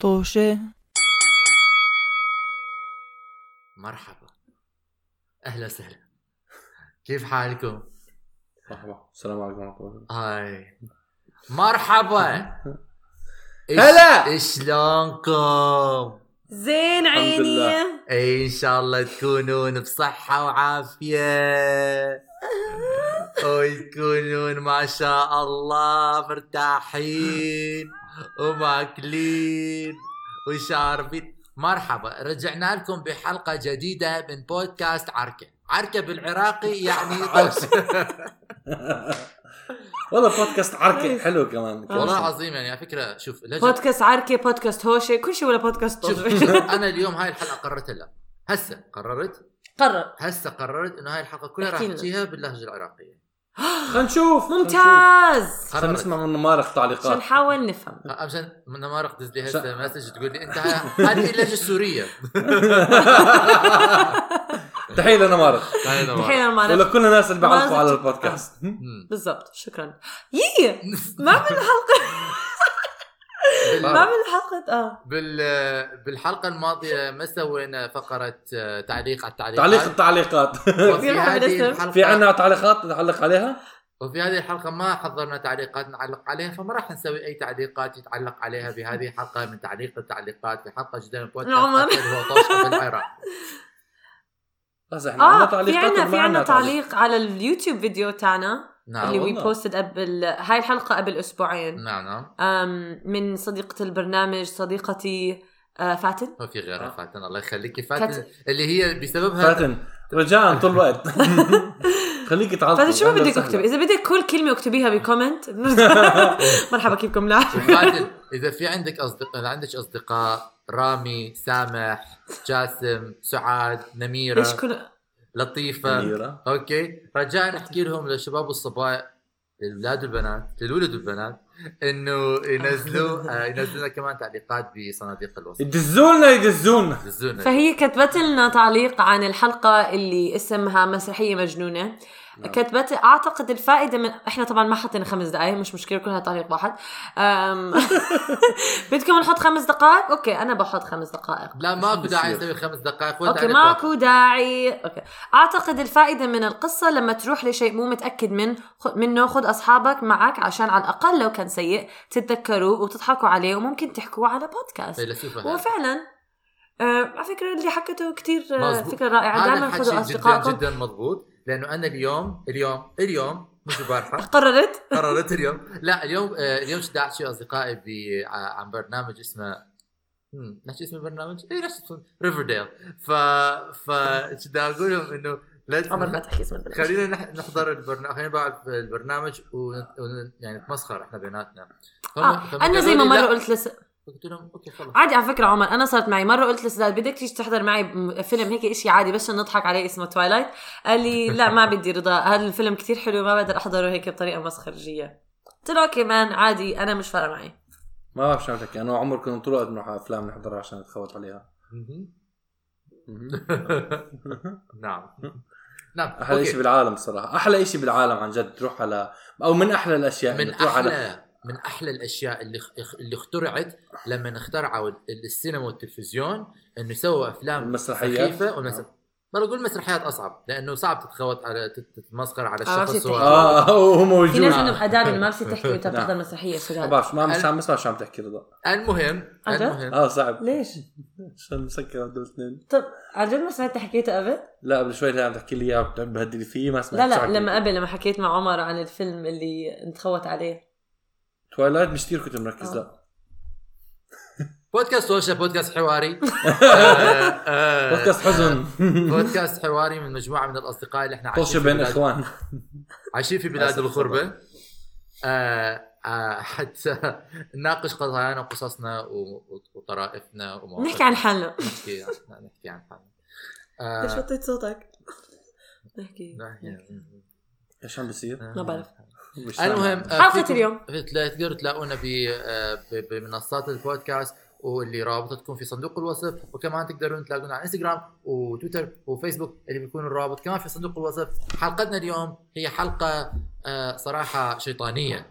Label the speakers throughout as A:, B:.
A: طوشة
B: مرحبا اهلا وسهلا كيف حالكم؟
C: مرحبا السلام عليكم ورحمه الله وبركاته
B: هاي مرحبا إش-
C: هلا!
B: شلونكم؟
D: زين
C: لله.
D: عيني
B: اي ان إيه، شاء الله تكونون بصحة وعافية وتكونون ما شاء الله مرتاحين وماكلين وشاربين مرحبا رجعنا لكم بحلقة جديدة من بودكاست عركة عركة بالعراقي يعني طوش
C: والله بودكاست عركه حلو
D: آه.
C: كمان
B: والله العظيم يعني على فكرة شوف لجنة
D: بودكاست عركه بودكاست هوشه كل شيء ولا بودكاست
B: شوف
D: طوش.
B: انا اليوم هاي الحلقة قررت لا هسه قررت
D: قرر
B: هسه قررت انه هاي الحلقة كلها راح
D: احكي لنا.
B: احكيها باللهجة العراقية
C: خلينا نشوف خلينا
D: ممتاز
C: نشوف. خلينا
B: قررت
C: نسمع من مارق
D: عشان
C: تعليقات
D: نحاول نفهم
B: عشان من ما رح تدز لي هسه
C: شا-
B: مسج تقول لي انت ه- هذه اللهجه السوريه
C: تحيه لنا مارق
B: هاي أنا ما
D: الحين
B: أعرف.
D: انا ما أعرف.
C: ولكل الناس اللي بعرفوا على
D: مارق. آه.
C: البودكاست
B: مم.
D: بالضبط شكرا يي ما بالحلقه ما
B: بال-
D: بالحلقه اه
B: بال بالحلقه الماضيه ما سوينا فقره آه، تعليق على التعليقات
C: تعليق التعليقات
B: وفي
D: يلا
B: هذه
D: بالاسم.
B: الحلقه
C: في عنا تعليقات نعلق عليها
B: وفي هذه الحلقه ما حضرنا تعليقات نعلق عليها فما راح نسوي اي تعليقات يتعلق عليها بهذه الحلقه من تعليق التعليقات في حلقه جديده من بودكاست
D: عمر.
B: أكل هو طوشة بالعراق
C: بس احنا عنا
D: اه في
C: تعليقات
D: عنا
C: وما
D: في عنا
C: تعليق
D: تعليق على اليوتيوب فيديو تاعنا اللي
B: نعم
D: وي
C: والله.
D: بوستد قبل هاي الحلقه قبل اسبوعين
B: نعم نعم
D: أم، من صديقه البرنامج صديقتي آه، فاتن
B: ما في غيرها فاتن الله يخليك
D: فاتن.
B: فاتن اللي هي بسببها
C: فاتن رجاء طول الوقت خليك تعلق
D: فاتن شو ما بدك اكتب اذا بدك كل كلمه اكتبيها بكومنت مرحبا كيفكم لا
B: فاتن اذا في عندك اصدقاء إذا عندك اصدقاء رامي سامح جاسم سعاد
D: ليش
B: نميره
D: كل
B: لطيفه اوكي رجاء نحكي لهم للشباب والصبايا للاولاد والبنات للولد والبنات انه ينزلوا آه، ينزلوا كمان تعليقات بصناديق الوصف
C: يدزونا يدزونا
B: دزونا
D: إيه. فهي كتبت لنا تعليق عن الحلقة اللي اسمها مسرحية مجنونة
C: نعم.
D: كتبت اعتقد الفائده من احنا طبعا ما حطينا خمس دقائق مش مشكله كلها تعليق واحد أم... بدكم نحط خمس دقائق اوكي انا بحط خمس دقائق
B: لا ماكو داعي
C: بصير.
B: نسوي خمس دقائق ولا
D: اوكي
B: تعليق واحد.
D: ماكو داعي اوكي اعتقد الفائده من القصه لما تروح لشيء مو متاكد من خ- منه خذ اصحابك معك عشان على الاقل لو كان سيء تتذكروه وتضحكوا عليه وممكن تحكوه على بودكاست
B: فيلسوفة هاي.
D: وفعلا آه على فكره اللي حكته كتير آه
B: مظبوط.
D: فكره رائعه
B: هذا
D: دائما
B: الحكي
D: خذوا
B: جدا
D: اصدقائكم
B: جدا مضبوط لانه انا اليوم اليوم اليوم مش البارحه
D: قررت
B: قررت اليوم لا اليوم آه، اليوم شدعت شي اصدقائي ب- ع- عن برنامج اسمه مم، نحكي اسم البرنامج؟ اي نفس ريفرديل ف ف شد اقول لهم انه لا تس-
D: عمر ما تحكي اسم البلد
B: خلينا نح- نحضر البرنامج خلينا نبعد البرنامج ويعني نتمسخر احنا بيناتنا هم- فهم
D: آه. انا زي ما
B: قالوا لي
D: مره
B: لا.
D: قلت لس...
B: قلت لهم اوكي خلص
D: عادي على فكره عمر انا صارت معي مره قلت لسداد بدك تيجي تحضر معي م- فيلم هيك إشي عادي بس عشان نضحك عليه اسمه توايلايت قال لي لا ما بدي رضا هذا الفيلم كتير حلو ما بقدر احضره هيك بطريقه مسخرجيه قلت له اوكي مان عادي انا مش فارقه معي
C: ما بعرف شو عم تحكي انا وعمر كنا طول الوقت بنروح على افلام نحضرها عشان نتخوت عليها
B: مهم. نعم نعم
C: احلى شيء
B: أوكي.
C: بالعالم الصراحه احلى شيء بالعالم عن جد تروح على او من احلى الاشياء
B: من
C: إنك تروح على
B: احلى من احلى الاشياء اللي اخ- اللي اخترعت لما اخترعوا ال- السينما والتلفزيون انه سووا افلام
C: المسرحيات آه.
B: سخيفة ومس- ما بقول مسرحيات اصعب لانه صعب تتخوت على تت- تتمسخر على
D: عرفت
B: الشخص
D: تحكي.
B: و...
C: اه هو
D: في
C: موجود
D: ناس عندهم اداب إنه ما بصير تحكي وانت
C: نعم.
D: بتحضر مسرحيه
C: ما
D: سداد
C: بعرف ما مش عم بسمع شو عم تحكي رضا
B: المهم
D: عن جد؟
B: المهم
C: اه صعب
D: ليش؟
C: عشان مسكر هدول الاثنين
D: طب عن جد ما سمعت حكيته قبل؟
C: لا قبل شوي اللي عم تحكي لي اياه بتعب بهدلي فيه ما سمعت
D: لا لا لما قبل لما حكيت مع عمر عن الفيلم اللي نتخوت عليه
C: توايلايت مش كثير كنت مركز
D: آه.
C: لا
B: بودكاست سوشا بودكاست حواري آه، آه،
C: بودكاست حزن
B: بودكاست حواري من مجموعه من الاصدقاء اللي احنا
C: طشه
B: عايشين في
C: بين
B: بلاد
C: اخوان
B: عايشين في بلاد
C: آسف،
B: الغربة آه آه حتى نناقش قضايانا وقصصنا و- وطرائفنا ومواقفنا
D: نحكي عن حالنا
B: نحكي عن- نحكي عن حالنا
D: ليش
B: آه
D: وطيت صوتك؟ نحكي
B: نحكي-
C: ايش عم بيصير؟
D: ما بعرف.
C: مش سامع.
B: المهم آه،
D: حلقة
B: فيكم-
D: اليوم.
B: فيتلا- تقدروا تلاقونا ب- آه، ب- بمنصات البودكاست واللي رابطه تكون في صندوق الوصف وكمان تقدرون تلاقونا على انستغرام وتويتر وفيسبوك اللي بيكون الرابط كمان في صندوق الوصف حلقتنا اليوم هي حلقه آه، صراحه شيطانيه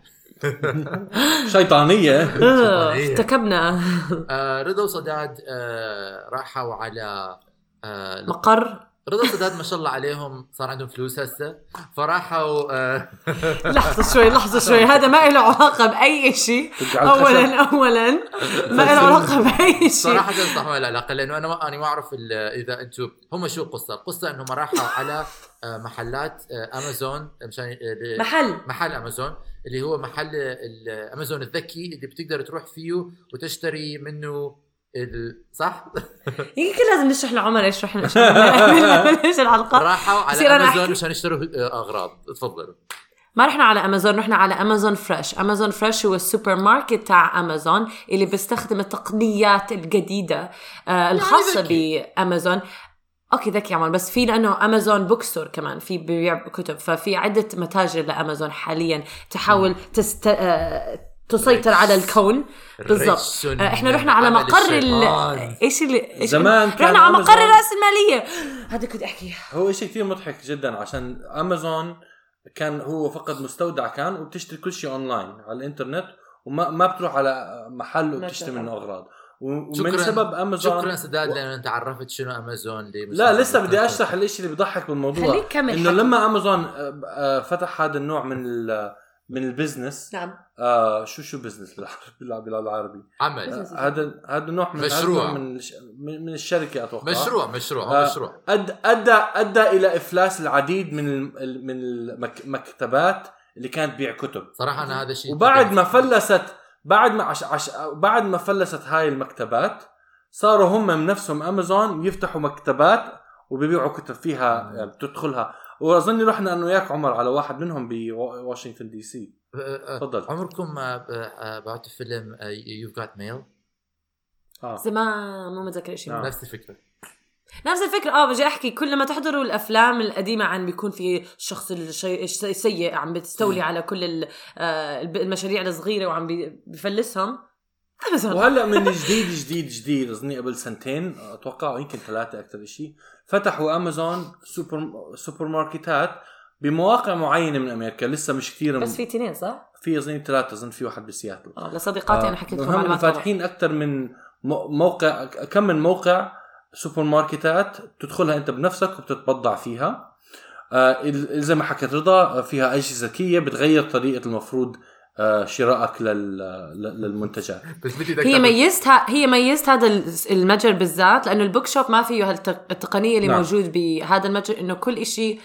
C: شيطانيه
D: آه،
B: إيه.
D: ارتكبنا
B: آه، رضا وصداد آه، راحوا على آه، لا.
D: مقر
B: رضا وصداد ما شاء الله عليهم صار عندهم فلوس هسه فراحوا آه،
D: لحظة شوي لحظة شوي هذا ما له علاقة بأي شيء
C: تقعد خشب.
D: أولا أولا ما له علاقة بأي شيء
B: صراحة صح ولا لا لأنه أنا ما أنا ما أعرف ال- إذا أنتم هم شو القصة القصة أنهم راحوا على آه، محلات آه، أمازون مشان آه،
D: محل
B: محل امازون اللي هو محل ال- امازون الذكي اللي بتقدر تروح فيه وتشتري منه ال... صح؟
D: يمكن لازم نشرح لعمر ايش رح نشرح قبل ما نبلش الحلقة
B: راحوا على
D: بصير أنا
B: امازون
D: أحكي؟
B: مشان يشتروا آه، اغراض تفضلوا
D: ما رحنا على امازون رحنا على امازون فريش امازون فريش هو السوبر ماركت تاع امازون اللي بيستخدم التقنيات الجديدة آه الخاصة بامازون اوكي ذكي عمر بس في لانه امازون بوكستور كمان في بيبيع كتب ففي عده متاجر لامازون حاليا تحاول تست... آه، تسيطر على الكون بالضبط
B: ريش
D: آه، احنا رحنا على
B: عمل
D: مقر ال... آه،
B: الشيطان.
D: ايش اللي إيش
C: زمان كان
D: رحنا على مقر
C: Amazon.
D: راس الماليه هذا كنت احكي
C: هو شيء كثير مضحك جدا عشان امازون كان هو فقط مستودع كان وبتشتري كل شيء اونلاين على الانترنت وما ما بتروح على محل وبتشتري منه اغراض و- ومن
B: شكراً-
C: سبب امازون
B: شكرا سداد
C: و-
B: لانه انت عرفت شنو امازون اللي مش
C: لا
B: عارف
C: لسه بدي
B: شنو.
C: اشرح الشيء اللي بضحك بالموضوع
D: خليك كمل
C: انه
D: حكي.
C: لما امازون آه، آه، فتح هذا النوع من ال- من البزنس
D: نعم
C: آه شو شو بزنس بالعربي بالعالم العربي
B: عمل
C: آه، هذا هذا النوع من هذا
B: مشروع.
C: النوع من الش- من من الشركه اتوقع
B: مشروع مشروع
C: آه.
B: هو مشروع
C: أد ادى ادى الى افلاس العديد من الم- ال- من المكتبات اللي كانت تبيع كتب
B: صراحه انا هذا الشيء
C: وبعد ما فلست بعد ما عش عش بعد ما فلست هاي المكتبات صاروا هم من نفسهم امازون يفتحوا مكتبات وبيبيعوا كتب فيها يعني بتدخلها واظن رحنا انه وياك عمر على واحد منهم بواشنطن دي سي
B: آه، آه،
C: تفضل
B: عمركم آه، آه، بعتوا فيلم يو جات ميل
C: آه.
D: زمان مو متذكر شيء
C: نعم.
B: نفس الفكره
D: نفس الفكرة اه بجي احكي كل ما تحضروا الافلام القديمة عن بيكون في الشخص الشي... الش- السيء عم بتستولي على كل ال- آه، الب- المشاريع الصغيرة وعم بي- بفلسهم امازون
C: وهلا من جديد جديد جديد اظني قبل سنتين اتوقع أو يمكن ثلاثه اكثر شيء فتحوا امازون سوبر سوبر ماركتات بمواقع معينه من امريكا لسه مش كثير
D: بس في تنين صح؟
C: في اظني ثلاثه اظن في واحد بسياتل
D: اه
C: آه.
D: لصديقاتي انا حكيت لكم
C: المهم إنه
D: معلومات غلط.
C: فاتحين اكثر من مو- موقع كم من موقع سوبر ماركتات تدخلها انت بنفسك وبتتبضع فيها آه، ال- زي ما حكت رضا آه، فيها اجهزه ذكيه بتغير طريقه المفروض آه، شرائك لل- لل- للمنتجات
B: بس بدي
D: هي
B: أتأكد.
D: ميزتها هي ميزت هذا الس- المتجر بالذات لانه البوك شوب ما فيه هالتق- التقنيه اللي
C: نعم.
D: نعم. موجود بهذا المتجر انه كل شيء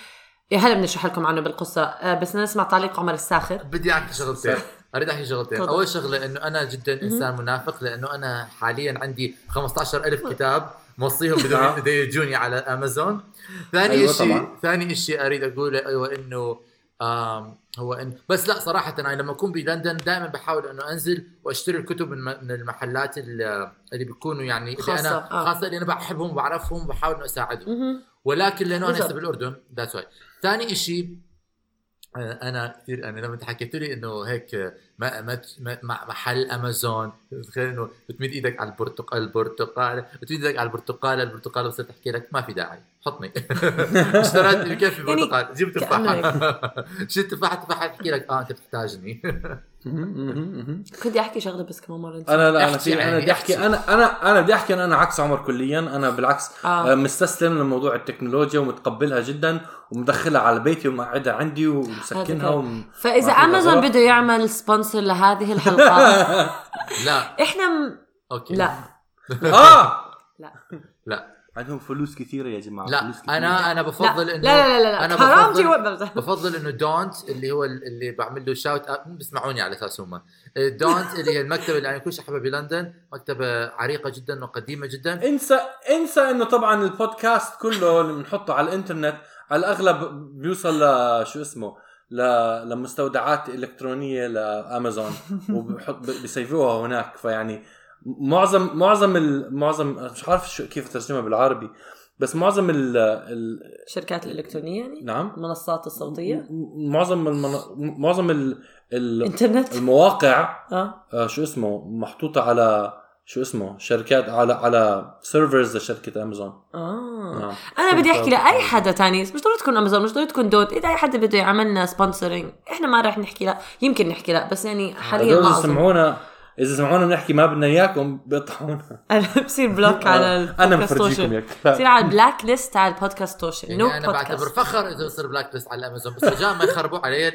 D: هلا بنشرح لكم عنه بالقصه آه، بس نسمع تعليق عمر الساخر
B: بدي احكي شغلتين اريد احكي شغلتين
D: تفضل.
B: اول شغله انه انا جدا انسان منافق لانه انا حاليا عندي 15000 كتاب موصيهم بدهم
C: نعم.
B: بده يجوني على امازون ثاني
C: أيوة
B: أيوة شيء
C: طبعاً.
B: ثاني شيء اريد اقوله ايوه انه آم هو إن بس لا صراحة أنا لما أكون بلندن دائما بحاول إنه أنزل وأشتري الكتب من, من المحلات ال- اللي بيكونوا يعني اللي
D: خاصة،
B: أنا
D: آه.
B: خاصة اللي أنا بحبهم وبعرفهم وبحاول إنه أساعدهم
D: مهم.
B: ولكن لانه انا
D: بالضبط.
B: هسه بالاردن ذاتس واي ثاني شيء انا كثير انا لما انت حكيت لي انه هيك آه، ما ما ما- مع محل امازون تخيل انه بتمد ايدك على البرتقال البرتقال بتمد ايدك على البرتقال البرتقال بصير تحكي لك ما في داعي حطني اشتريت كيف في
D: يعني
B: برتقال جبت
D: كأنه
B: تفاحه شلت تفاحه تفاحه تحكي لك اه انت بتحتاجني
D: كنت بدي احكي شغله بس كمان مره نسيت.
C: انا لا انا
B: احكي
C: في انا
B: يعني،
C: بدي احكي
B: احكي.
C: انا انا انا بدي احكي إن انا عكس عمر كليا انا بالعكس
D: آه.
C: آه. مستسلم لموضوع التكنولوجيا ومتقبلها جدا ومدخلها على بيتي ومقعدها عندي ومسكنها
D: هذا
C: وم...
D: فاذا
C: ما فيها
D: امازون
C: غلط.
D: بده يعمل سبونسر لهذه الحلقه
B: لا
D: احنا م...
B: اوكي
D: لا
C: اه
D: لا
B: لا
C: عندهم فلوس كثيره يا جماعه
B: لا
C: فلوس كثيرة.
B: انا انا
D: لا
B: بفضل
D: لا
B: انه
D: لا لا,
B: انا
D: لا. حرام
B: بفضل-
D: جوا-
B: بفضل انه دونت اللي هو ال- اللي بعمل له شاوت اب بيسمعوني على اساس هم دونت اللي هي المكتبه اللي انا كل شيء احبها بلندن مكتبه عريقه جدا وقديمه جدا
C: انسى انسى انه طبعا البودكاست كله اللي بنحطه على الانترنت على الاغلب بيوصل ل شو اسمه ل... لمستودعات الكترونيه لامازون وبحط ب- بيسيفوها هناك فيعني معظم معظم ال... معظم مش عارف شو كيف ترجمها بالعربي بس معظم ال, ال...
D: الشركات الالكترونيه يعني
C: نعم
D: المنصات الصوتيه
C: م- معظم المن... معظم ال... ال...
D: انترنت
C: المواقع
D: اه
C: آه، شو اسمه محطوطه على شو اسمه شركات على على سيرفرز لشركه امازون
D: اه
C: نعم
D: انا بدي احكي لاي حدا تاني مش ضروري تكون امازون مش ضروري تكون دوت اذا اي حدا بده يعملنا سبونسرينج احنا ما راح نحكي لا يمكن نحكي لا بس يعني حاليا
C: اذا
D: ما أظن.
C: سمعونا اذا سمعونا بنحكي ما بدنا اياكم بيقطعونا
D: انا بصير بلوك على
C: انا
D: البودكاست
C: آه. مفرجيكم
D: توشن
C: يا
D: بصير
C: كلاب
D: على البلاك ليست على البودكاست توشن
B: يعني
D: نو
B: انا بعتبر
D: بودكاست
B: فخر اذا بصير بلاك ليست على امازون بس رجاء ما يخربوا علي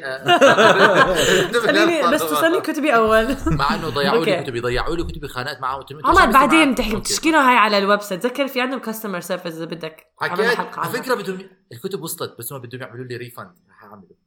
D: خليني بس توصلني كتبي اول
B: مع انه ضيعوا لي
D: أوكي.
B: كتبي ضيعوا لي كتبي خانات معهم أنتم- أنتم
D: عمر
B: شو
D: بعدين
B: بتسمع؟
D: تحكي
B: أوكي.
D: بتشكيله هاي على الويب سايت تذكر في عندهم كاستمر سيرفيس اذا بدك عملنا
B: حكيت
D: حلقة
B: على
D: عنها.
B: فكره بدهم الكتب وصلت بس هم بدهم يعملوا لي ريفند حاعمله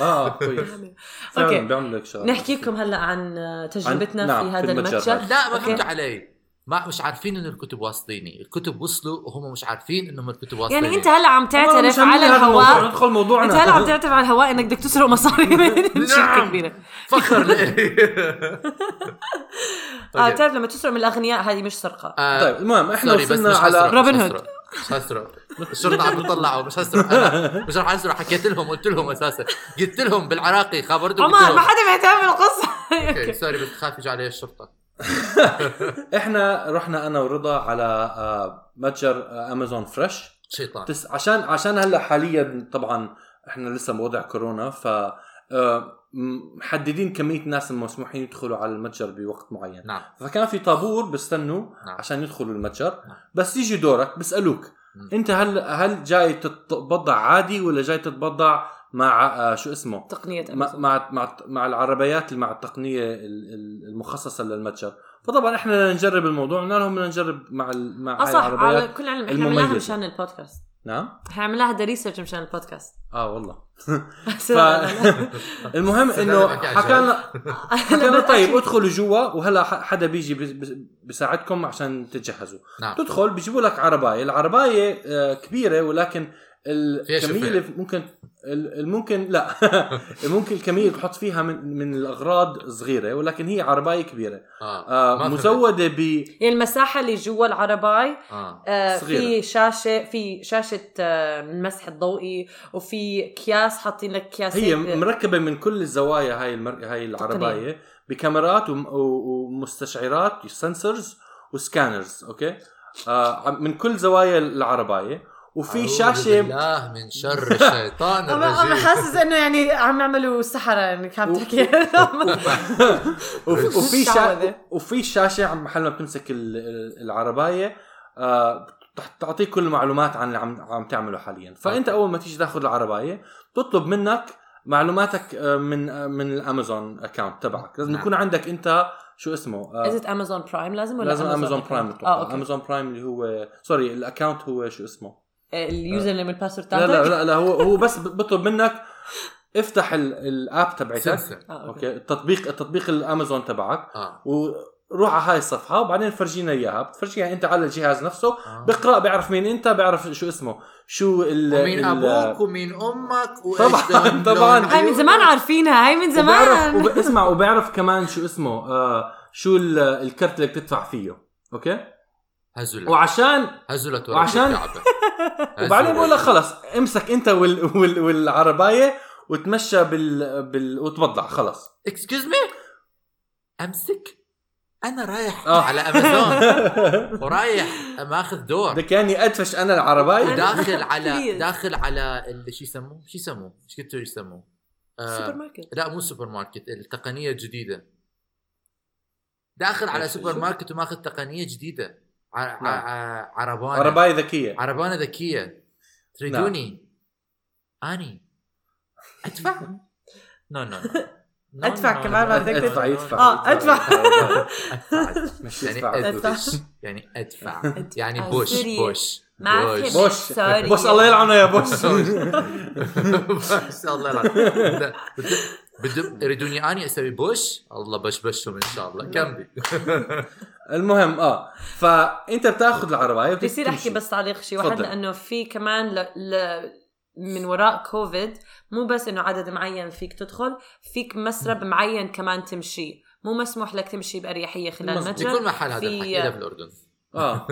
C: اه كويس
D: يعني. أوكي.
C: اوكي بيعمل لك شغل آه،
D: نحكي لكم هلا عن تجربتنا
C: عن- نعم،
D: في
C: في
D: هذا
C: المتجر.
D: المتجر
B: لا ما
D: أوكي.
B: فهمت علي ما مش عارفين انه الكتب واصليني الكتب وصلوا وهم مش عارفين انهم الكتب واصليني
D: يعني انت هلا عم تعترف على الهواء
C: ندخل
D: انت هلا عم
C: موضوعنا
D: تعترف على الهواء انك بدك تسرق مصاري من آه، شركه
B: نعم.
D: كبيره
B: فخر لي طيب.
D: اه بتعرف لما تسرق من الاغنياء هذه مش سرقه
C: طيب المهم احنا
B: سوري آه، بس
C: وصلنا
B: مش
D: هسرق.
C: على
D: روبن
B: روبن
D: هود.
B: هود مش هسرق الشرطه عم بتطلعوا مش هسرق أنا مش رح اسرق حكيت لهم قلت لهم اساسا قلت لهم بالعراقي خابرتهم قلت
D: عمر ما
B: لهم
D: حدا مهتم بالقصه
B: أوكي،
D: أوكي.
B: سوري بس خاف يجي علي الشرطه
C: احنا رحنا انا ورضا على آه، متجر آه، امازون فريش
B: شيطان
C: تس... عشان عشان هلا حاليا طبعا احنا لسه بوضع كورونا ف آه، م- محددين كميه الناس المسموحين يدخلوا على المتجر بوقت معين
B: نعم
C: فكان في طابور بستنوا
B: نعم.
C: عشان يدخلوا المتجر
B: نعم.
C: بس يجي دورك بيسالوك
B: مم.
C: انت هل هل جاي تتبضع عادي ولا جاي تتبضع مع آه، شو اسمه
D: تقنيه
C: مع
D: أمازون.
C: مع مع, مع العربيات اللي مع التقنيه ال- ال- المخصصه للمتجر فطبعا احنا بدنا نجرب الموضوع قلنا لهم بدنا نجرب مع ال- مع
D: اه
C: هاي
D: صح على
C: العربيات
D: كل علم احنا عملناها
C: المميزة.
D: مشان البودكاست
C: نعم
D: احنا عملناها هذا ريسيرش مشان البودكاست يعني
C: اه والله
D: ف...
C: ف... المهم انه
B: بحكي عن
C: حكى لنا حكى لنا طيب ادخلوا جوا وهلا ح- حدا بيجي بي- بي- بيساعدكم عشان تتجهزوا
B: نعم
C: آه. تدخل بيجيبوا لك عربايه العربايه آه، كبيره ولكن
B: فيها
C: الكميه
B: شوفير.
C: اللي ممكن ال- الممكن لا ممكن الكميه اللي بتحط فيها من من الاغراض صغيره ولكن هي عربايه كبيره
B: اه
C: آه
B: ما
C: مزوده ب
D: يعني المساحه اللي جوا العرباي
B: فهمت. اه
D: آه،
C: صغيرة.
D: في شاشه في شاشه آه، المسح الضوئي وفي اكياس حاطين لك اكياس
C: هي مركبه من كل الزوايا هاي المر... هاي العربايه بكاميرات وم... و- ومستشعرات سنسرز وسكانرز اوكي آه عم- من كل زوايا العربايه وفي
B: أعوذ
C: شاشه
B: بالله من شر الشيطان
D: انا
B: الرجيم
D: حاسس انه يعني عم يعملوا سحرة يعني كان تحكي
C: وف- وفي
D: شعوذة.
C: شا... وفي شاشه عم- محل ما بتمسك ال- ال- العربايه آه بتح- تعطيك كل المعلومات عن اللي عم, عم تعمله حاليا فانت
B: أوكي.
C: اول ما تيجي تاخذ العربايه بتطلب منك معلوماتك آه، من آه، من الامازون اكاونت تبعك لازم
B: نعم.
C: يكون عندك انت شو اسمه آه،
D: ازت امازون برايم لازم ولا
C: لازم امازون
D: Account؟
C: برايم
D: اه
C: اتوقع
D: اوكي
C: امازون برايم اللي هو سوري الاكونت هو شو اسمه
D: آه، اليوزر نيم الباسورد
C: لا
D: تاعتك
C: لا لا, لا هو هو بس بيطلب منك افتح ال- الاب تبعتك
B: سنسن.
D: آه، اوكي
C: اوكي التطبيق التطبيق الامازون تبعك
B: اه
C: وروح على هاي الصفحه وبعدين فرجينا اياها بتفرجيها انت على الجهاز نفسه
B: آه.
C: بقرا بيعرف مين انت بيعرف شو اسمه شو ال
B: ومين
C: ال-
B: ابوك ومين امك وإيش
C: طبعاً،
B: لون-
C: طبعاً.
B: لون
D: هاي من زمان عارفينها هاي من
C: وبيعرف
D: زمان
C: وب- اسمع وبيعرف كمان شو اسمه آه شو ال- الكرت اللي بتدفع فيه اوكي
B: هزلت
C: وعشان
B: هزلت
C: وعشان- وبعدين بقول لك خلص امسك انت وال... وال... والعربايه وتمشى بال, بال... وتبضع خلص
B: اكسكيوز مي امسك انا رايح
C: آه.
B: على امازون ورايح ماخذ دور
C: بدك يعني ادفش انا العربايه
B: داخل على
D: Please.
B: داخل على اللي شو يسموه شو يسموه ايش كنتوا يسموه آه،
D: سوبر ماركت
B: لا مو سوبر ماركت التقنيه الجديده داخل على
C: إيش-
B: سوبر
C: شو؟
B: ماركت وماخذ تقنيه جديده ع... ع...
C: نعم.
B: ع... عربانه
C: عربايه ذكيه
B: عربانه ذكيه تريدوني اني ادفع نو نو نو.
D: أدفع
B: نو،
D: كمان
B: نو،
D: بدك
B: نو،
C: ادفع
B: نو،
C: يدفع
B: نو،
D: آه، أدفع.
B: أدفع، أدفع.
C: مش
B: يعني أدفع.
C: يدفع أدفع.
B: يعني ادفع
D: أدفع. آه،
B: يعني بوش
D: سوري.
B: بوش
D: ما
B: بوش
D: فهمت.
C: بوش
D: Sorry.
C: بوش الله يلعنه يا بوش
B: ما شاء الله العظيم لا، بد- بد- يريدوني اني اسوي بوش الله بشبشهم ان شاء الله كملي
C: المهم اه فانت بتاخذ العربايه وبتمشي.
D: بصير احكي بس تعليق شيء
C: تفضل.
D: واحد لانه في كمان ل... ل... من وراء كوفيد مو بس انه عدد معين فيك تدخل فيك مسرب معين كمان تمشي مو مسموح لك تمشي باريحيه خلال
C: مظبوط.
D: المتجر
B: بكل محل هذا
D: في-
B: الحكي الا بالاردن
C: اه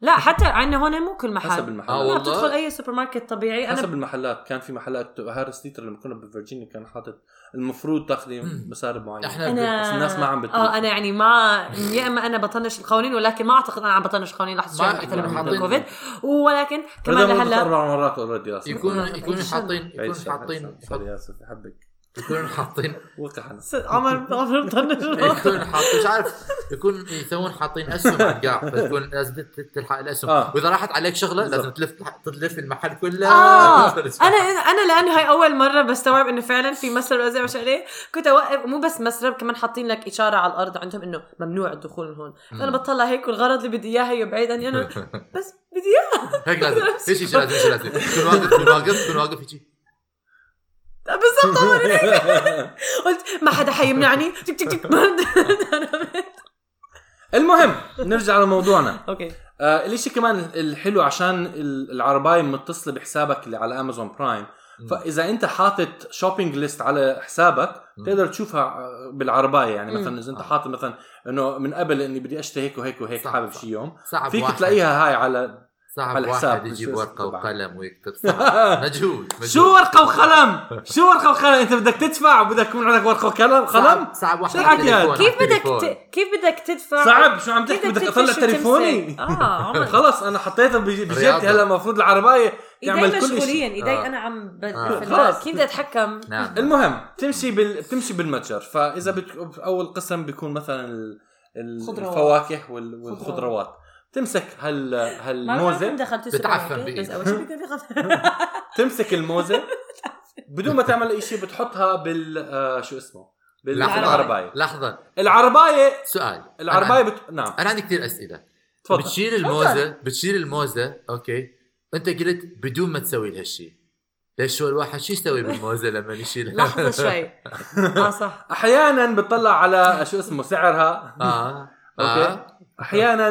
D: لا حتى عندنا هون مو كل محل
C: حسب
B: آه،
C: المحل
D: لا
B: والله.
D: بتدخل اي سوبر ماركت طبيعي انا
C: حسب المحلات كان في محلات هارس ليتر لما كنا بفرجينيا كان حاطط المفروض تاخذي
B: مم.
C: مسارب معينه
B: احنا
D: انا
C: بس الناس ما عم بتروح.
D: اه انا يعني ما يا اما انا بطنش القوانين ولكن ما اعتقد انا عم بطنش القوانين لحظه
B: ما
D: شوي
B: إحنا
D: بحكي
B: حاطين-
D: الكوفيد ولكن كمان
C: رضا مرة
D: لهلا
C: اربع مرات اوريدي
B: يكونوا
D: آه،
B: يكونوا
D: عيش.
B: حاطين يكونوا حاطين
C: سوري اسف بحبك
B: يكونوا حاطين
C: وقع انا
D: عمر عمر بطنش
B: يكون حاطين مش عارف يكون يسوون حاطين اسهم على القاع فتكون لازم تلحق الاسهم
C: آه.
B: واذا راحت عليك شغله لازم
C: بالضبط. آه.
B: تلف تلف المحل كله
D: اه انا انا لانه هاي اول مره بستوعب انه فعلا في مسرب ازرق مش عليه كنت اوقف مو بس مسرب كمان حاطين لك اشاره على الارض عندهم انه ممنوع الدخول من هون فانا
B: مم.
D: بطلع هيك والغرض اللي بدي اياه هي بعيد عني انا يعني بس بدي اياه
B: هيك لازم ايش شيء لازم ايش لازم تكون واقف تكون واقف تكون واقف هيجي
D: بالضبط عمر قلت ما حدا حيمنعني تك تك تك
C: المهم نرجع لموضوعنا
D: اوكي
C: آه الاشي كمان الحلو عشان ال- العرباية متصلة بحسابك اللي على امازون برايم
B: مم.
C: فاذا انت حاطط شوبينج ليست على حسابك
B: مم.
C: تقدر تشوفها آه، بالعرباية يعني
D: مم.
C: مثلا اذا انت حاطط مثلا انه من قبل اني بدي اشتري هيك وهيك وهيك
B: صح،
C: حابب
B: صح.
C: شي يوم
B: صعب
C: فيك
B: واحد
C: تلاقيها هاي على
B: صعب
C: على الحساب.
B: واحد يجيب
C: مش-
B: ورقه
C: طبعاً.
B: وقلم ويكتب صعب. مجهود مجهود.
C: شو ورقة وقلم؟ شو ورقة وقلم؟ انت بدك تدفع وبدك يكون عندك ورقة وقلم
B: صعب-
C: قلم؟
B: صعب واحد
C: شو الحكي
B: يجيب
C: هاد؟
B: ورقة
D: كيف بدك
B: تليفون.
D: ت- كيف بدك تدفع
C: صعب شو عم
D: كيف
C: تحكي بدك
D: تدفش
C: اطلع
D: وتمسك؟
C: تليفوني
D: اه عمر
C: خلص انا حطيتها بج- بجيبتي
B: رياضة.
C: هلا المفروض العرباية
D: ايدي
C: تعمل كل شيء
D: مشغولين ايدي
B: آه.
D: انا عم
B: آه.
D: خلص
C: خلص.
D: كيف بدي اتحكم
B: نعم
C: المهم بتمشي بال... بتمشي بالمتجر فاذا بت... اول قسم بيكون مثلا ال... ال-
D: خضروات.
C: الفواكه وال... والخضروات تمسك هال
D: ما بعرف
C: هالموزه
D: كيف دخلت
B: بتعفن
D: السوبر ماركت،
B: بإيدي.
D: بس اول شيء بدي أدخل-
C: تمسك الموزه بدون ما تعمل اي شيء بتحطها بال آه شو اسمه بال...
B: لحظة.
C: بالعربايه
B: لحظه
C: العربايه
B: سؤال
C: العربايه
B: أنا-
C: بت... نعم
B: انا عندي كثير اسئله
C: تفضل
B: بتشيل الموزه بتشيل الموزه اوكي انت قلت بدون ما تسوي لهالشيء ليش هو الواحد شو يسوي بالموزه لما يشيلها؟
D: لحظه شوي اه صح
C: احيانا بتطلع على شو اسمه سعرها
B: اه
C: اوكي
B: اه
C: احيانا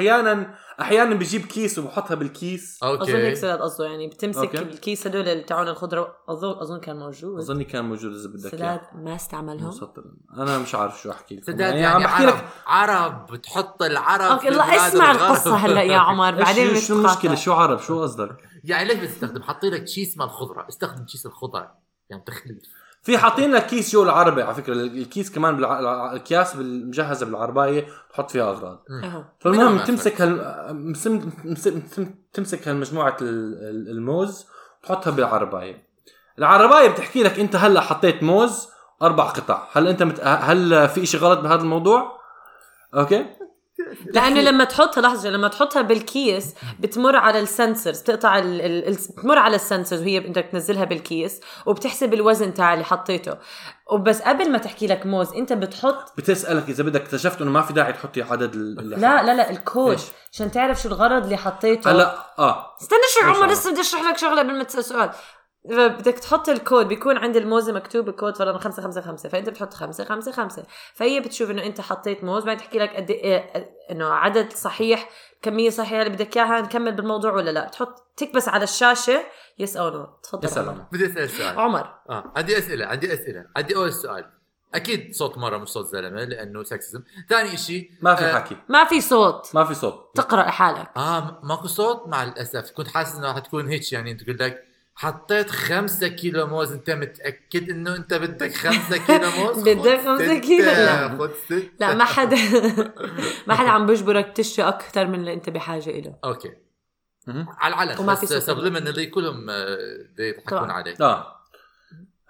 C: احيانا احيانا بجيب كيس وبحطها بالكيس
B: آه.
D: اظن هيك
B: اوكي
D: سلاد قصده يعني بتمسك
C: أوكي.
D: الكيس هدول اللي تاعون الخضره اظن اظن كان موجود
C: اظني كان موجود اذا بدك إياه.
D: سلاد ما استعملهم
C: مسطر انا مش عارف شو احكي لكم
B: سداد
C: يعني,
B: يعني
C: عم بحكي
B: عرب
C: لك
B: عرب بتحط العرب
D: اوكي
B: في
D: الله
B: بلاد
D: اسمع
B: الغرب.
D: القصه هلا يا عمر بعدين
C: بعدين شو المشكله
D: بنتقاطع
C: شو عرب شو قصدك
B: يعني ليش بتستخدم؟ حاطين لك شيء مال الخضره، استخدم شيء الخضره يعني تخليف
C: في حاطين لك كيس جو العربي على فكره الكيس كمان بالع... الع- الاكياس بالمجهزه بالعربايه بتحط فيها اغراض
D: أهو.
B: منهم
C: فالمهم
B: أكثر.
C: تمسك هال... مسم... مسم... مسم... تمسك هالمجموعه ال- ال- الموز بتحطها بالعربايه العربايه بتحكي لك انت هلا حطيت موز اربع قطع هل انت مت... هل في شيء غلط بهذا الموضوع اوكي
D: لانه لما تحطها لحظه لما تحطها بالكيس بتمر على السنسرز بتقطع ال... ال... ال... بتمر على السنسرز وهي بدك تنزلها بالكيس وبتحسب الوزن تاع اللي حطيته وبس قبل ما تحكي لك موز انت بتحط
C: بتسالك اذا بدك اكتشفت انه ما في داعي تحطي عدد ال- اللي
D: لا لا لا الكود
C: إيش؟
D: عشان تعرف شو الغرض اللي حطيته
C: هلا اه
D: استنى شوي
C: ماشي
D: عمر
C: عمر.
D: لسه بدي اشرح لك شغله قبل ما تسال سؤال بدك تحط الكود بيكون عند الموزة مكتوب الكود فرضا 5 5 5 فانت بتحط 5 5 5 فهي بتشوف انه انت حطيت موز بعدين تحكي لك قد إيه- انه عدد صحيح كمية صحيحة اللي بدك اياها نكمل بالموضوع ولا لا بتحط تكبس على الشاشة يس او نو
C: يا
D: تفضل
C: سلام
B: بدي اسال سؤال
D: عمر
B: اه عندي اسئله عندي اسئله عندي اول سؤال اكيد صوت مره مش صوت زلمه لانه سكسزم ثاني شيء
C: ما في
B: آه،
C: حكي
D: ما في صوت
C: ما في صوت
D: تقرا لحالك
B: اه ماكو صوت مع الاسف كنت حاسس انه حتكون هيك يعني انت قلت لك حطيت خمسة كيلو موز انت متاكد انه انت بدك خمسة كيلو موز
D: بدك
B: خذ
D: خمسة
B: ستة،
D: كيلو، لا.
B: خذ ستة.
D: لا ما حدا ما حدا عم بيجبرك تشتري اكثر من اللي انت بحاجة له
B: اوكي
C: مهم.
B: على العلن
D: وما
B: وما في
D: في صوت.
B: سبلمنالي كلهم آه، بيضحكون
D: طبعاً.
B: عليك
C: اه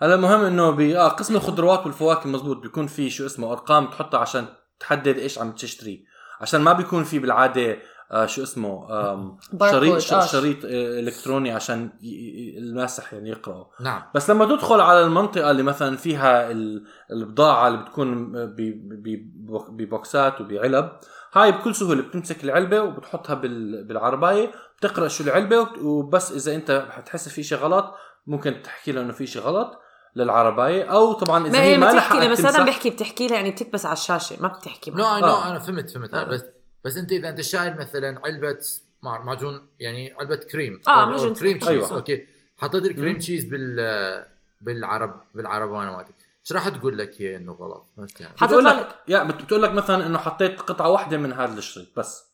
C: هلا مهم انه ب اه قسم الخضروات والفواكه مزبوط بيكون في شو اسمه ارقام بتحطها عشان تحدد ايش عم تشتري عشان ما بيكون في بالعاده آه شو اسمه آم شريط
D: باركود، آه.
C: شريط آه، الكتروني عشان ي- ي- الماسح يعني يقراه
B: نعم
C: بس لما تدخل على المنطقة اللي مثلا فيها ال- البضاعة اللي بتكون ب- ب- ببوكسات وبعلب هاي بكل سهولة بتمسك العلبة وبتحطها بال- بالعرباية بتقرأ شو العلبة وبت- وبس إذا أنت حتحس في شي غلط ممكن تحكي له إنه في شي غلط للعرباية أو طبعا إذا
D: ما
C: هي
D: هي
C: ما
D: بتحكي لما
C: لحقت
D: سلام
C: تمسح
D: بيحكي بتحكي لها يعني بتكبس على الشاشة ما بتحكي معها.
B: نو نو
C: آه.
B: انا فهمت فهمت آه، بس بس انت اذا انت شايل مثلا علبه مع- معجون يعني علبه كريم
D: آه،
B: أو- أو
D: معجون
B: كريم
C: أيوة.
B: تشيز اوكي حطيت
C: مم.
B: الكريم تشيز بال بالعرب بالعربانه مالتك ايش راح تقول لك هي انه غلط؟ فهمت يعني؟
D: حتطلع
C: بتقول
D: لك-
C: لك يا بت- بتقول لك مثلا إنه حطيت قطعة واحدة من هذا الشريط بس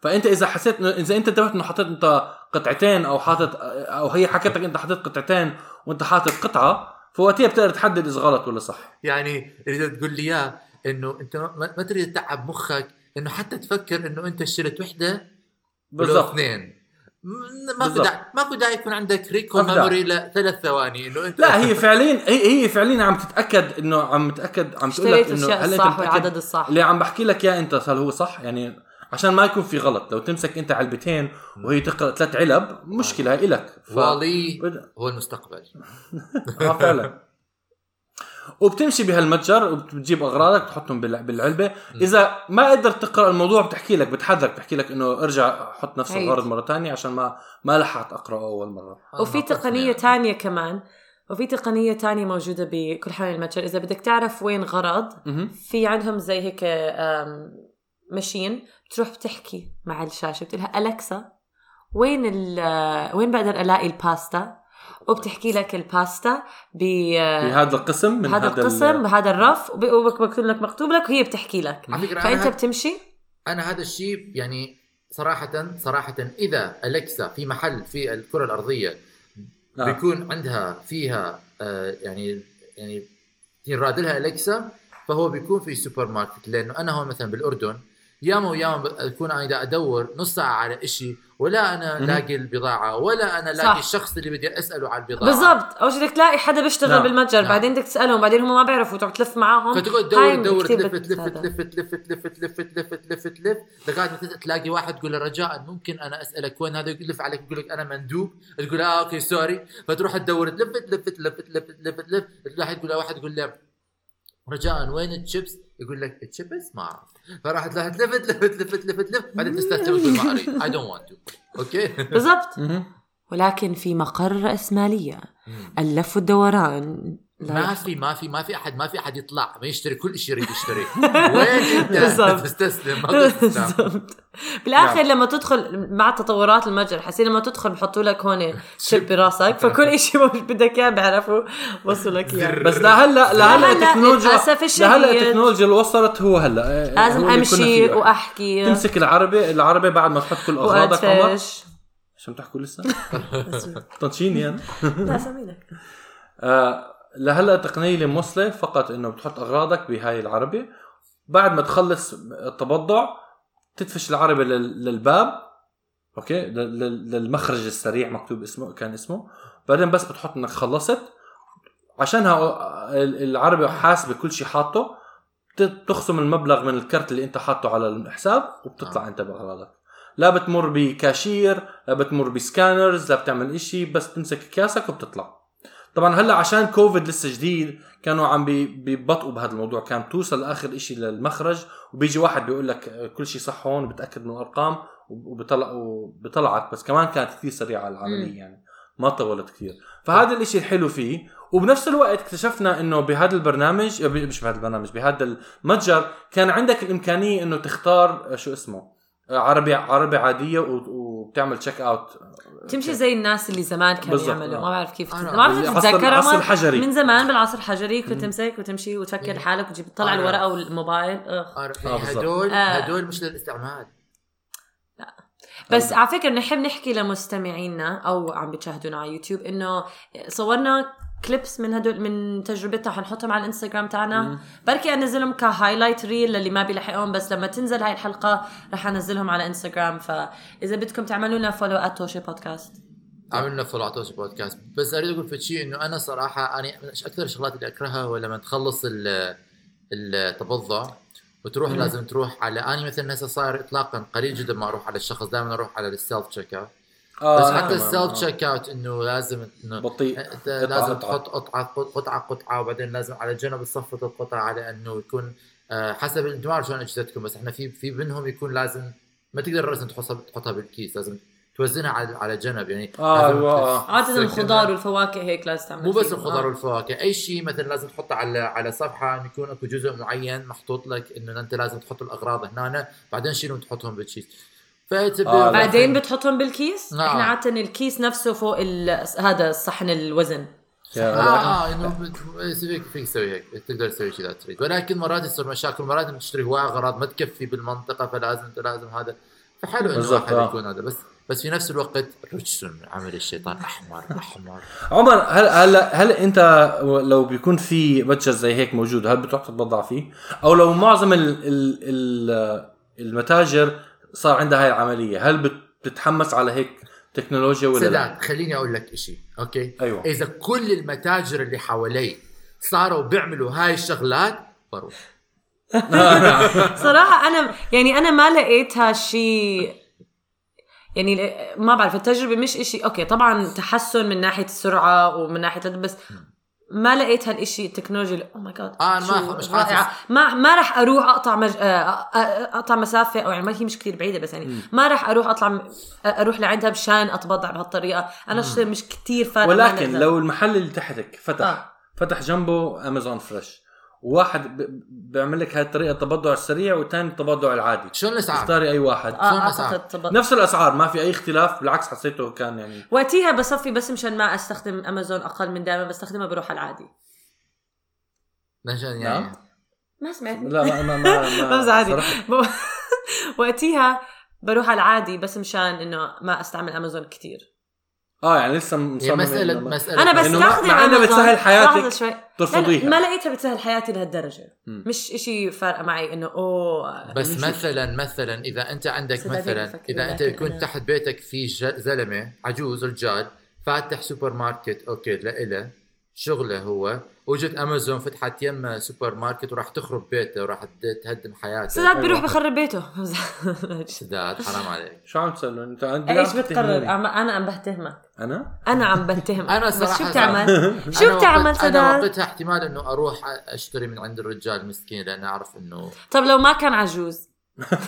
C: فانت اذا حسيت انه اذا انت انتبهت انه حطيت انت قطعتين او حاطط او هي حكت لك انت حطيت قطعتين وانت حاطط قطعه فوقتها بتقدر تحدد اذا غلط ولا صح
B: يعني اذا تقول لي اياه انه انت ما, ما تريد تتعب مخك انه حتى تفكر انه انت شلت وحده ولو
C: بالضبط
B: اثنين م- ما في
C: بالضبط.
B: داعي ماكو داعي يكون عندك ريكول
C: ما في داعي.
B: ميموري لثلاث ثواني انه انت
C: لا هي فعليا هي هي فعليا عم تتاكد انه عم تتاكد عم تقول لك
D: اشتريت
C: انه
D: الاشياء
C: هل
D: الصح
C: انت متاكد
D: والعدد الصح
C: اللي عم بحكي لك يا انت هل هو صح يعني عشان ما يكون في غلط لو تمسك انت علبتين وهي تقرا ثلاث علب مشكله هاي الك ف...
B: والي هو المستقبل
C: اه فعلا وبتمشي بهالمتجر وبتجيب اغراضك بتحطهم بال- بالعلبه اذا ما قدرت تقرا الموضوع بتحكي لك بتحذرك بتحكي لك انه ارجع حط نفس
D: عيد.
C: الغرض مره تانية عشان ما ما لحقت اقراه اول مره
D: وفي
B: يعني.
D: تقنية تانية كمان وفي تقنية تانية موجودة بكل حال المتجر إذا بدك تعرف وين غرض
C: مهم.
D: في عندهم زي هيك آم، ماشين بتروح بتحكي مع الشاشة بتقول لها ألكسا وين ال وين بقدر ألاقي الباستا وبتحكي لك الباستا ب
C: بهذا القسم من
D: آه، هذا
C: هذا ال-
D: القسم بهذا الرف وب- ومكتوب لك مكتوب لك وهي بتحكي لك
B: على فكره
D: فأنت
B: أنا,
D: بتمشي
B: انا هذا الشيء يعني صراحه صراحه اذا الكسا في محل في الكره الارضيه
C: آه.
B: بيكون عندها فيها آه يعني يعني ينراد لها الكسا فهو بيكون في سوبر ماركت لانه انا هون مثلا بالاردن ياما وياما بكون انا قاعد ادور نص ساعه على إشي ولا انا
C: مهم.
B: لاقي البضاعه ولا انا
D: صح.
B: لاقي الشخص اللي بدي اساله على البضاعه
D: بالضبط اول شيء بدك تلاقي حدا بيشتغل
C: نعم.
D: بالمتجر
B: نعم.
D: بعدين بدك تسالهم بعدين هم ما بيعرفوا تقعد تلف معاهم
B: فتقعد
D: هاي
B: تدور تدور
D: كتير
B: تلف
D: بت-
B: تلف
D: هذا.
B: تلف تلف تلف تلف تلف تلف تلف لغايه ما تلاقي واحد تقول له رجاء ممكن انا اسالك وين هذا يلف عليك يقول لك انا مندوب تقول اه اوكي سوري فتروح تدور تلف تلف تلف تلف تلف تلف تلاقي تقول له واحد يقول له رجاء وين الشيبس؟ يقول لك الشيبس ما اعرف فراح تلاقي تلف تلف تلف تلف تلف بعدين تستسلم وتقول ما اريد اي دونت ونت تو اوكي
D: بالضبط
C: مهم.
D: ولكن في مقر رأسمالية اللف والدوران لا
B: ما في ما في ما في احد ما في احد يطلع ما يشتري كل شيء يريد يشتريه وين
D: بالضبط.
B: انت تستسلم ما تستسلم
D: بالضبط بالاخر
C: نعم.
D: لما تدخل مع تطورات المتجر حسين لما تدخل بحطوا لك هون شب براسك فكل شيء بدك اياه بيعرفوا وصلوا لك اياه
C: بس لهلا لهلا
D: لا، لا،
C: التكنولوجيا
D: للأسف الشديد.
C: لهلا التكنولوجيا اللي وصلت هو هلا آه،
D: لازم
C: هو اللي كنا
D: امشي
C: فيه.
D: واحكي
C: تمسك العربه العربه بعد ما تحط كل اغراضك عمر
D: وادفش
C: شو بتحكوا لسه؟ طنشيني انا
D: لا سمينك
C: آه، لهلا التقنيه اللي موصله فقط انه بتحط اغراضك بهاي العربه بعد ما تخلص التبضع تدفش العربه لل- للباب اوكي لل- لل- للمخرج السريع مكتوب اسمه كان اسمه بعدين بس بتحط انك خلصت عشانها ال- العربه حاسبه كل شيء حاطه بت- بتخصم المبلغ من الكرت اللي انت حاطه على الحساب وبتطلع انت باغراضك لا بتمر بكاشير لا بتمر بسكانرز لا بتعمل إشي بس تمسك كاسك وبتطلع طبعا هلا عشان كوفيد لسه جديد كانوا عم بي- بيبطئوا بهذا الموضوع كان توصل لاخر إشي للمخرج وبيجي واحد بيقول لك آه، كل شيء صح هون بتاكد من الارقام وبطلع وبطلعك بس كمان كانت كثير سريعه
D: مم.
C: العمليه يعني ما طولت كثير فهذا الإشي الحلو فيه وبنفس الوقت اكتشفنا انه بهذا البرنامج آه، ب- مش بهذا البرنامج بهذا المتجر كان عندك الامكانيه انه تختار آه، شو اسمه عربي عربي عاديه و- وبتعمل تشيك اوت
D: تمشي زي الناس اللي زمان كانوا
C: بالضبط،
D: يعملوا ما
C: آه.
D: بعرف كيف
B: أنا-
D: ما بعرف إذا
C: عصر
D: بتتذكر
C: العصر
D: عمر.
C: الحجري
D: من
C: من
D: زمان بالعصر الحجري كنت تمسك وتمشي وتفكر
B: مم.
D: حالك وتجيب تطلع
B: آه.
D: الورقه والموبايل أخ.
B: آه،
C: آه، بالضبط.
B: هدول
D: آه.
B: هدول مش للاستعمال
D: بس على فكره نحب نحكي لمستمعينا او عم بتشاهدونا على يوتيوب انه صورنا كليبس من هدول من تجربتنا حنحطهم على الانستغرام تاعنا بركي انزلهم كهايلايت ريل للي ما بيلحقهم بس لما تنزل هاي الحلقه رح انزلهم على انستغرام فاذا بدكم تعملوا لنا فولو @توشي بودكاست
C: آه.
B: عملنا فلاتوس بودكاست بس اريد اقول في شيء انه انا صراحه انا من أش- اكثر الشغلات اللي اكرهها هو لما تخلص ال- التبضع وتروح
C: مم.
B: لازم تروح على اني مثلا هسه صاير اطلاقا قليل جدا ما اروح على الشخص دائما اروح على السيلف تشيك اوت بس
C: نعم،
B: حتى السيلف تشيك اوت انه لازم انه
C: آه، بطيء
B: أنت لازم
C: قطعة.
B: تحط قطعه قطعه قطعه وبعدين لازم على جنب تصفط القطعه على انه يكون آه، حسب انتم ما بعرف شلون اجهزتكم بس احنا في في منهم يكون لازم ما تقدر راسا تحطها تحطها بالكيس لازم توزنها على على جنب يعني
C: آه،
B: لازم
C: أيوة،
B: تس-
C: آه.
D: عاده
B: تسكنها.
D: الخضار والفواكه هيك لازم تعمل
B: مو بس
D: فيهم.
B: الخضار
D: آه.
B: والفواكه اي شيء مثلا لازم تحطه على على صفحه انه يكون اكو جزء معين محطوط لك انه انت لازم تحط الاغراض هنا بعدين شيلهم تحطهم بالشيء فانت
C: آه، لا.
D: بعدين بتحطهم بالكيس
B: نعم.
D: احنا عاده الكيس نفسه فوق ال- هذا الصحن الوزن
C: يا
B: اه
C: الله.
B: اه انه بت- يصير هيك فيك تسوي هيك تقدر تسوي كذا إذا تريد ولكن مرات يصير مشاكل مرات بتشتري هواي اغراض ما تكفي بالمنطقه فلازم انت لازم هذا فحلو انه
C: بالضبط،
B: واحد
C: آه.
B: يكون هذا بس بس في نفس الوقت روتشسون عمل الشيطان احمر احمر
C: عمر هل هلا هل انت لو بيكون في بادجت زي هيك موجود هل بتروح تتبضع فيه؟ او لو معظم ال ال ال المتاجر صار عندها هاي العمليه، هل بت- بتتحمس على هيك تكنولوجيا ولا لا؟
B: سداد خليني اقول لك شيء اوكي
C: أيوة.
B: اذا كل المتاجر اللي حوالي صاروا بيعملوا هاي الشغلات بروح
D: صراحة أنا يعني أنا ما لقيتها شيء يعني ل- ما بعرف التجربة مش إشي أوكي طبعا تحسن من ناحية السرعة ومن ناحية بس ما لقيت هالإشي التكنولوجيا اللي أوه ماي جاد
B: آه، أنا
D: oh شو
B: ما- مش
D: رائعة.
B: حاسس.
D: ما ما راح أروح أقطع مج... آه، أ- أ- أقطع مسافة أو يعني ما هي مش كثير بعيدة بس يعني ما راح أروح أطلع م- أ- أروح لعندها مشان أتبضع بهالطريقة أنا الشيء مش كثير فارق معي
C: ولكن
D: لهذا.
C: لو المحل اللي تحتك فتح
D: آه.
C: فتح جنبه امازون فريش وواحد ب- بيعمل لك هاي الطريقه التبضع السريع والثاني التبضع العادي
B: شو الاسعار؟
C: اختاري اي واحد
D: آه،
B: صار مساعد.
D: أعتقد طب-
C: نفس الاسعار ما في اي اختلاف بالعكس حسيته كان يعني
D: وقتيها بصفي بس مشان ما استخدم امازون اقل من دائما بستخدمها بروح على العادي
B: عشان
C: نعم.
B: يعني
D: ما سمعت
C: لا ما ما ما, ما
D: بس عادي
C: صراحة
D: ب- وقتيها بروح على العادي بس مشان انه ما استعمل امازون كتير
C: اه يعني لسه
B: هي
C: مصمم
B: مساله
C: إنه ما-
B: مساله
D: انا
C: إنه ما-
D: بستخدم
C: مع إنها
D: امازون
C: بتسهل حياتك،
D: لحظة شوي. لا،
C: ترفضيها.
D: ما لقيتها بتسهل حياتي لهالدرجه
C: مم.
D: مش اشي فارقه معي انه اوه
B: بس
D: مش-
B: مثلا مثلا اذا انت عندك
D: صدقني
B: مثلا
D: بفكر
B: اذا انت
D: لكن
B: يكون
D: أنا-
B: تحت بيتك في ج- زلمه عجوز رجال فاتح سوبر ماركت اوكي لإله شغله هو وجد امازون فتحت يم سوبر ماركت وراح تخرب بيته وراح تد- تهدم حياته
D: سداد بيروح بخرب بيته
B: سداد حرام عليك
C: شو عم تسألون انت عندك
D: ايش بتقرر عم- انا عم بتهمك
C: انا؟
D: انا عم بتهمك
B: أنا
D: بس
B: صراحة-
D: شو بتعمل
B: أنا
D: شو بتعمل
B: وقت- انا
D: سداد
B: وقتها احتمال انه اروح اشتري من عند الرجال مسكين لان اعرف انه
D: طب لو ما كان عجوز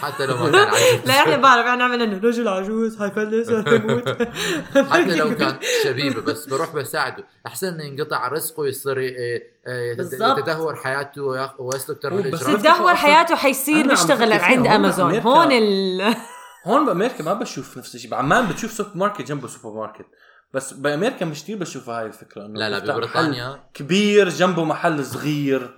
B: حتى لو ما كان عجوز
D: لا احنا بعرف احنا عملنا انه رجل عجوز حيفلس حيموت
B: حتى
D: أيوة.
B: لو كان شبيبه بس بروح بساعده احسن انه ينقطع رزقه يصير ي- ي-
D: بالضبط. أيوة،
B: يتدهور حياته وياخ- ويسلك
C: هو
B: ترى
C: بس
B: الاجرام
D: تدهور حياته
C: أنا
D: حيصير
C: عم
D: مشتغل
C: بفكر فيها.
D: عند
C: هون
D: امازون
C: أمريكا.
D: هون ال
C: هون بامريكا ما بشوف نفس الشيء بعمان بتشوف سوبر ماركت جنبه سوبر ماركت بس بامريكا مش كثير بشوف هاي الفكره انه
B: لا لا
C: بتفتح محل
B: ببريطانيا
C: كبير جنبه محل صغير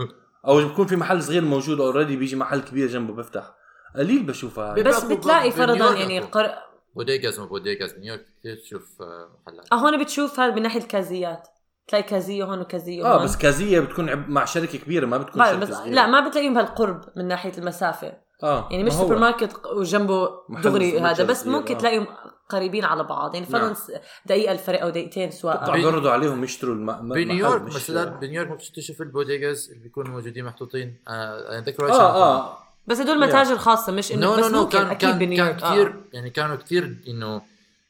C: او بيكون في محل صغير موجود اوريدي بيجي محل كبير جنبه بيفتح قليل بشوفها هاي
B: بيبقى
D: بس
B: أكو
D: بتلاقي
B: بنيويورك
D: فرضا يعني
B: أكو.
D: قر...
B: بوديجاز ما بوديجاز نيويورك كثير تشوف آه، محلات
D: آه، هون بتشوف هذا من ناحيه الكازيات تلاقي كازيه هون وكازيه
C: اه
D: هون.
C: بس كازيه بتكون عب- مع شركه كبيره ما بتكون
D: بعرف
C: شركه
D: بس
C: صغيره
D: لا يعني ما بتلاقيهم بهالقرب من ناحيه المسافه
C: اه
D: يعني مش
C: ما هو.
D: سوبر ماركت وجنبه
C: محل
D: دغري
C: صغير
D: هذا بس
C: صغير،
D: ممكن
C: آه.
D: تلاقيهم قريبين على بعض يعني فرضا
C: نعم. طيب.
D: س- دقيقه الفرق او دقيقتين
C: بتطلع
D: سواء
B: بي-
C: بيعرضوا عليهم يشتروا الم... م-
D: أيوة،
B: بنيويورك
C: محل مش-
B: مثلا بنيويورك ممكن تشوف البوديجاز اللي بيكونوا موجودين محطوطين آه، انا اتذكر
C: اه اه
D: بس هدول متاجر خاصه مش
B: نو
D: انه
B: نو
D: بس
B: نو
D: ممكن
B: كان
D: اكيد
B: كان كان
D: بنيويورك آه.
B: كثير يعني كانوا كثير انه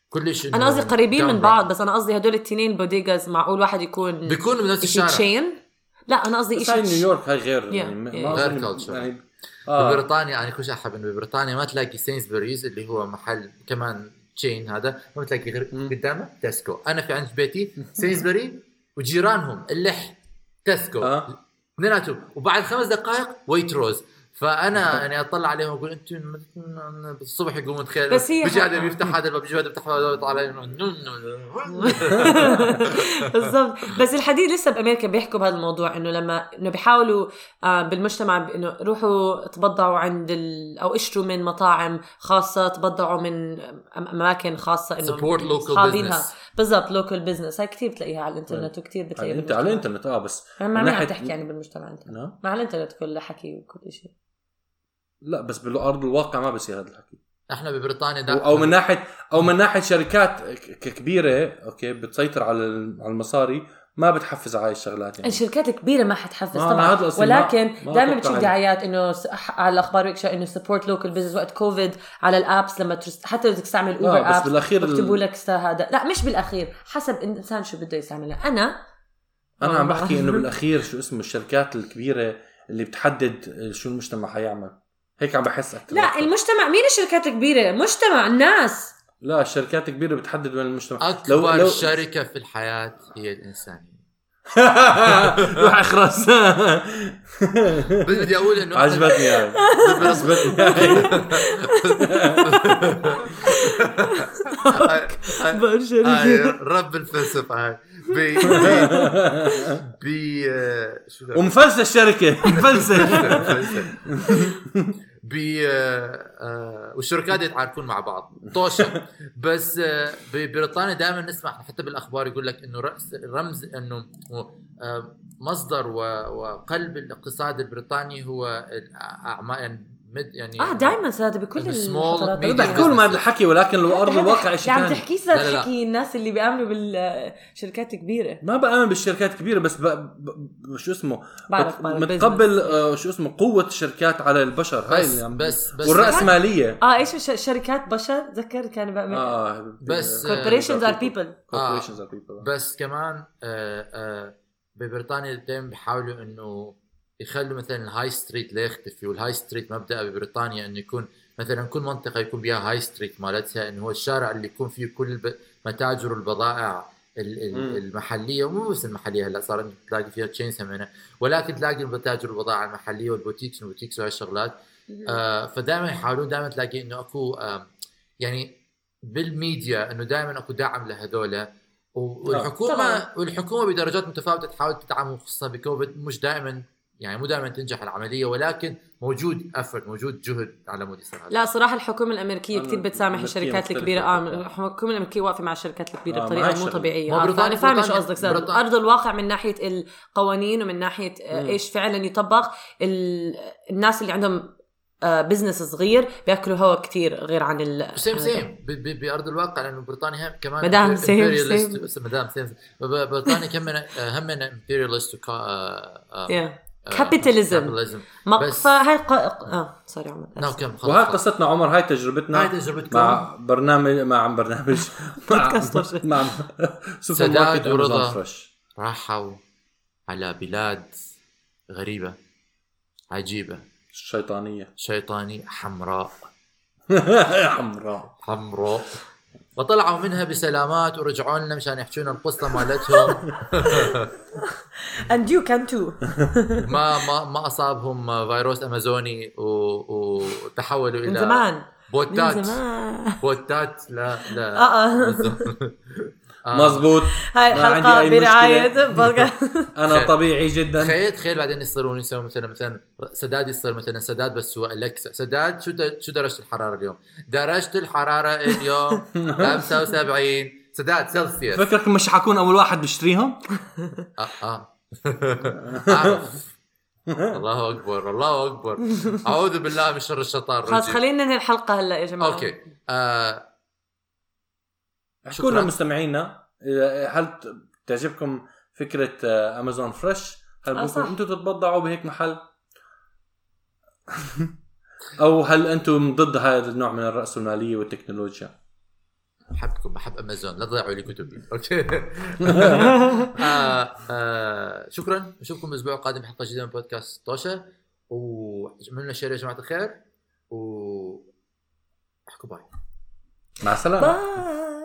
B: كلش إنه
C: آه،
D: انا قصدي قريبين من
B: جنب
D: بعض بس انا قصدي هدول التنين البوديجاز معقول واحد يكون
B: بيكونوا بنفس
D: شيء
B: الشارع
D: تشين لا انا قصدي
C: بس هاي
D: شيء
C: نيويورك هاي غير يعني
D: Yeah,
C: ما-
D: yeah.
C: ما
B: غير
C: أظن-
B: culture.
C: يعني اه
B: ببريطانيا انا كل احب انه ببريطانيا ما تلاقي سينزبريز اللي هو محل كمان تشين هذا ما تلاقي غير
C: مم.
B: قدامه تسكو انا في عند بيتي سينزبري وجيرانهم اللح تسكو
C: آه.
B: اثنيناتهم وبعد خمس دقائق ويتروز فانا يعني اطلع عليهم واقول انتم الصبح يقوموا تخيل
D: بس هي
B: بيجي
D: حق-
B: هذا بيفتح هذا الباب بيجي هذا بيفتح هذا بيطلع عليهم
D: بالضبط بس الحديث لسه بامريكا بيحكوا بهذا الموضوع انه لما انه بيحاولوا آه، بالمجتمع انه روحوا تبضعوا عند ال... او اشتروا من مطاعم خاصه تبضعوا من أم- اماكن خاصه انه
B: Support local
D: أصحابينها.
B: business.
D: بالضبط لوكال بزنس هاي كثير بتلاقيها على الانترنت وكثير
C: على
D: بتلاقيها
C: الانت
D: بالمجتمع.
C: على الانترنت اه بس
D: ما-
C: من
D: ما عم
C: ناحية-
D: تحكي يعني بالمجتمع انت
C: نعم.
D: مع الانترنت كل حكي وكل شيء
C: لا بس بالارض الواقع ما بصير هذا الحكي
B: احنا ببريطانيا
C: و-
B: دائماً-
C: او من ناحيه او من ناحيه شركات ك- كبيره اوكي بتسيطر على ال- على المصاري ما بتحفز على هاي الشغلات يعني
D: الشركات الكبيره ما حتحفز
C: ما-
D: طبعا
C: هذا القصد، ما-
D: ولكن
C: ما
D: دائما
C: أتوقع
D: بتشوف
C: إنه-
D: دعايات انه س- ح- على الاخبار ويك انه سبورت لوكال بزنس وقت كوفيد على الابس لما ترس... حتى لو بدك تستعمل اوبر
C: آه، بس
D: ابس
C: بالأخير ال-
D: بكتبوا لك سا- هذا لا مش بالاخير حسب الانسان شو بده يستعملها انا
C: انا عم بحكي انه بالاخير شو اسمه الشركات الكبيره اللي بتحدد آه، شو المجتمع حيعمل هيك عم بحس اكثر
D: لا المجتمع مين الشركات الكبيره مجتمع الناس
C: لا الشركات الكبيره بتحدد وين المجتمع
B: اكبر شركه في الحياه هي الانسانيه
C: روح اخرس
B: بس بدي اقول انه
C: عجبتني هاي عجبتني هاي.
B: هاي- هاي-
D: برجر
B: هاي رب الفلسفه هاي ب ب- ب آه، شو ده؟
C: ومفلسه الشركه مفلسه
B: فلسفة. ب آه، آه، والشركات يتعاركون مع بعض طوشه بس آه، ببريطانيا دائما نسمع حتى بالاخبار يقول لك انه رأس رمز انه آه، مصدر و- وقلب الاقتصاد البريطاني هو الاعمال يعني مد- يعني
D: اه دائما ساده بكل طيب،
B: السمول
D: الفترات
B: ميديا.
D: طبعاً.
B: بدك
C: بيحكوا لهم هذا الحكي ولكن الارض الواقع شيء
D: عم
C: ثاني
D: تحكي
B: لا،
D: يعني صار
B: لا.
D: تحكي الناس اللي بيعملوا بالشركات الكبيره
C: ما بآمن بالشركات كبيرة بس ب... ب... ب- شو اسمه
D: بعرف-
C: بت-
D: بعرف
C: متقبل آه، شو اسمه قوة الشركات على البشر هاي
B: بس-
C: اللي عم-
B: بس- بس-
C: والرأسمالية
D: اه ايش الش- شركات بشر تذكر كان بعمل
C: اه
B: بس- آه،
D: corporations are people.
C: corporations are people
B: بس كمان آه، آه، ببريطانيا دائما بيحاولوا انه يخلوا مثلا الهاي ستريت لا يختفي والهاي ستريت مبدا ببريطانيا انه يكون مثلا كل منطقه يكون بها هاي ستريت مالتها انه هو الشارع اللي يكون فيه كل الب- متاجر والبضائع ال- ال-
C: مم.
B: المحليه مو بس المحليه هلا صار إنك تلاقي فيها تشينز همينة ولكن تلاقي المتاجر والبضائع المحليه والبوتيكس والبوتيكس وهالشغلات آه، فدائما يحاولون دائما تلاقي انه اكو آه، يعني بالميديا انه دائما اكو دعم لهذول و- والحكومه
D: طبعاً.
B: والحكومه بدرجات متفاوته تحاول تدعمهم خصوصا بكوفيد مش دائما يعني مو دائما تنجح العمليه ولكن موجود افورت موجود جهد على مود يصير هذا
D: لا صراحه الحكومه الامريكيه
C: أنا
D: كثير بتسامح
C: الأمريكية
D: الشركات
C: مختلفة.
D: الكبيره اه الحكومه الامريكيه واقفه مع الشركات الكبيره
C: آه، ما هي
D: بطريقه مو
C: الشغلة.
D: طبيعيه
B: ما
D: آه،
B: بريطانيا-
D: فانا فاهمه شو
B: بريطانيا-
D: قصدك صار
B: بريطانيا-
D: ارض الواقع من ناحيه القوانين ومن ناحيه آه،
C: مم.
D: ايش فعلا يطبق ال- الناس اللي عندهم بزنس صغير بياكلوا هوا كثير غير عن ال
B: سيم سيم ب- ب- بارض الواقع لانه بريطانيا هم كمان
D: مدام
B: imperialist-
D: same،
B: مدام سيم بريطانيا هم هم امبيريالست آه،
D: آه، Yeah. Capitalism. مق...
B: بس-
D: فهي ق... اه سوري عمر
B: نو نعم، كم
C: وهاي
B: خلص خلص.
C: قصتنا عمر هاي
B: هاي
C: تجربتنا
B: تجربتكم
C: نعم. مع برنامج مع عم برنامج مع
D: بودكاست
C: مع سوبر
B: سداد
C: ماركت
B: ورضا.
C: ورضا فريش
B: راحوا على بلاد غريبة عجيبة
C: الشيطانية
B: شيطانية حمراء
C: حمراء
B: حمراء وطلعوا منها بسلامات ورجعوا لنا مشان يحكون القصة مالتهم
D: and you can too
B: ما ما ما أصابهم فيروس أمازوني و... وتحولوا إلى
D: من زمان من
B: بوتات
D: زمان
B: بوتات لا لا
D: آه.
B: آه.
C: مزبوط
D: هاي
C: ما عندي
D: الحلقه
C: أي مشكلة.
D: برعايه بودكاست
C: انا طبيعي جدا
B: تخيل تخيل بعدين يصيرون يسوون مثلا مثلا سداد يصير مثلا سداد بس هو الكسا سداد شو د- شو درجه الحراره اليوم؟ درجه الحراره اليوم 75 سداد سلسيوس
C: فكرك مش حكون اول واحد بشتريهم
B: اه اه أعرف. الله اكبر الله اكبر اعوذ بالله من شر الشيطان الرجيم.
D: خلاص خلينا ننهي الحلقه هلا يا جماعه
B: اوكي آه
C: احكوا
B: شكراً.
C: لنا مستمعينا إذا- هل ت- تعجبكم فكره آه، امازون فريش هل
D: آه،
C: ممكن
D: صح.
C: انتم تتبضعوا بهيك محل او هل انتم ضد هذا النوع من الراسماليه والتكنولوجيا
B: بحبكم بحب امازون لا تضيعوا لي كتبي اوكي آه آه شكرا نشوفكم الاسبوع القادم بحلقه جديده من بودكاست طوشه وعملنا شير يا جماعه الخير و احكوا باي
C: مع السلامه
D: باي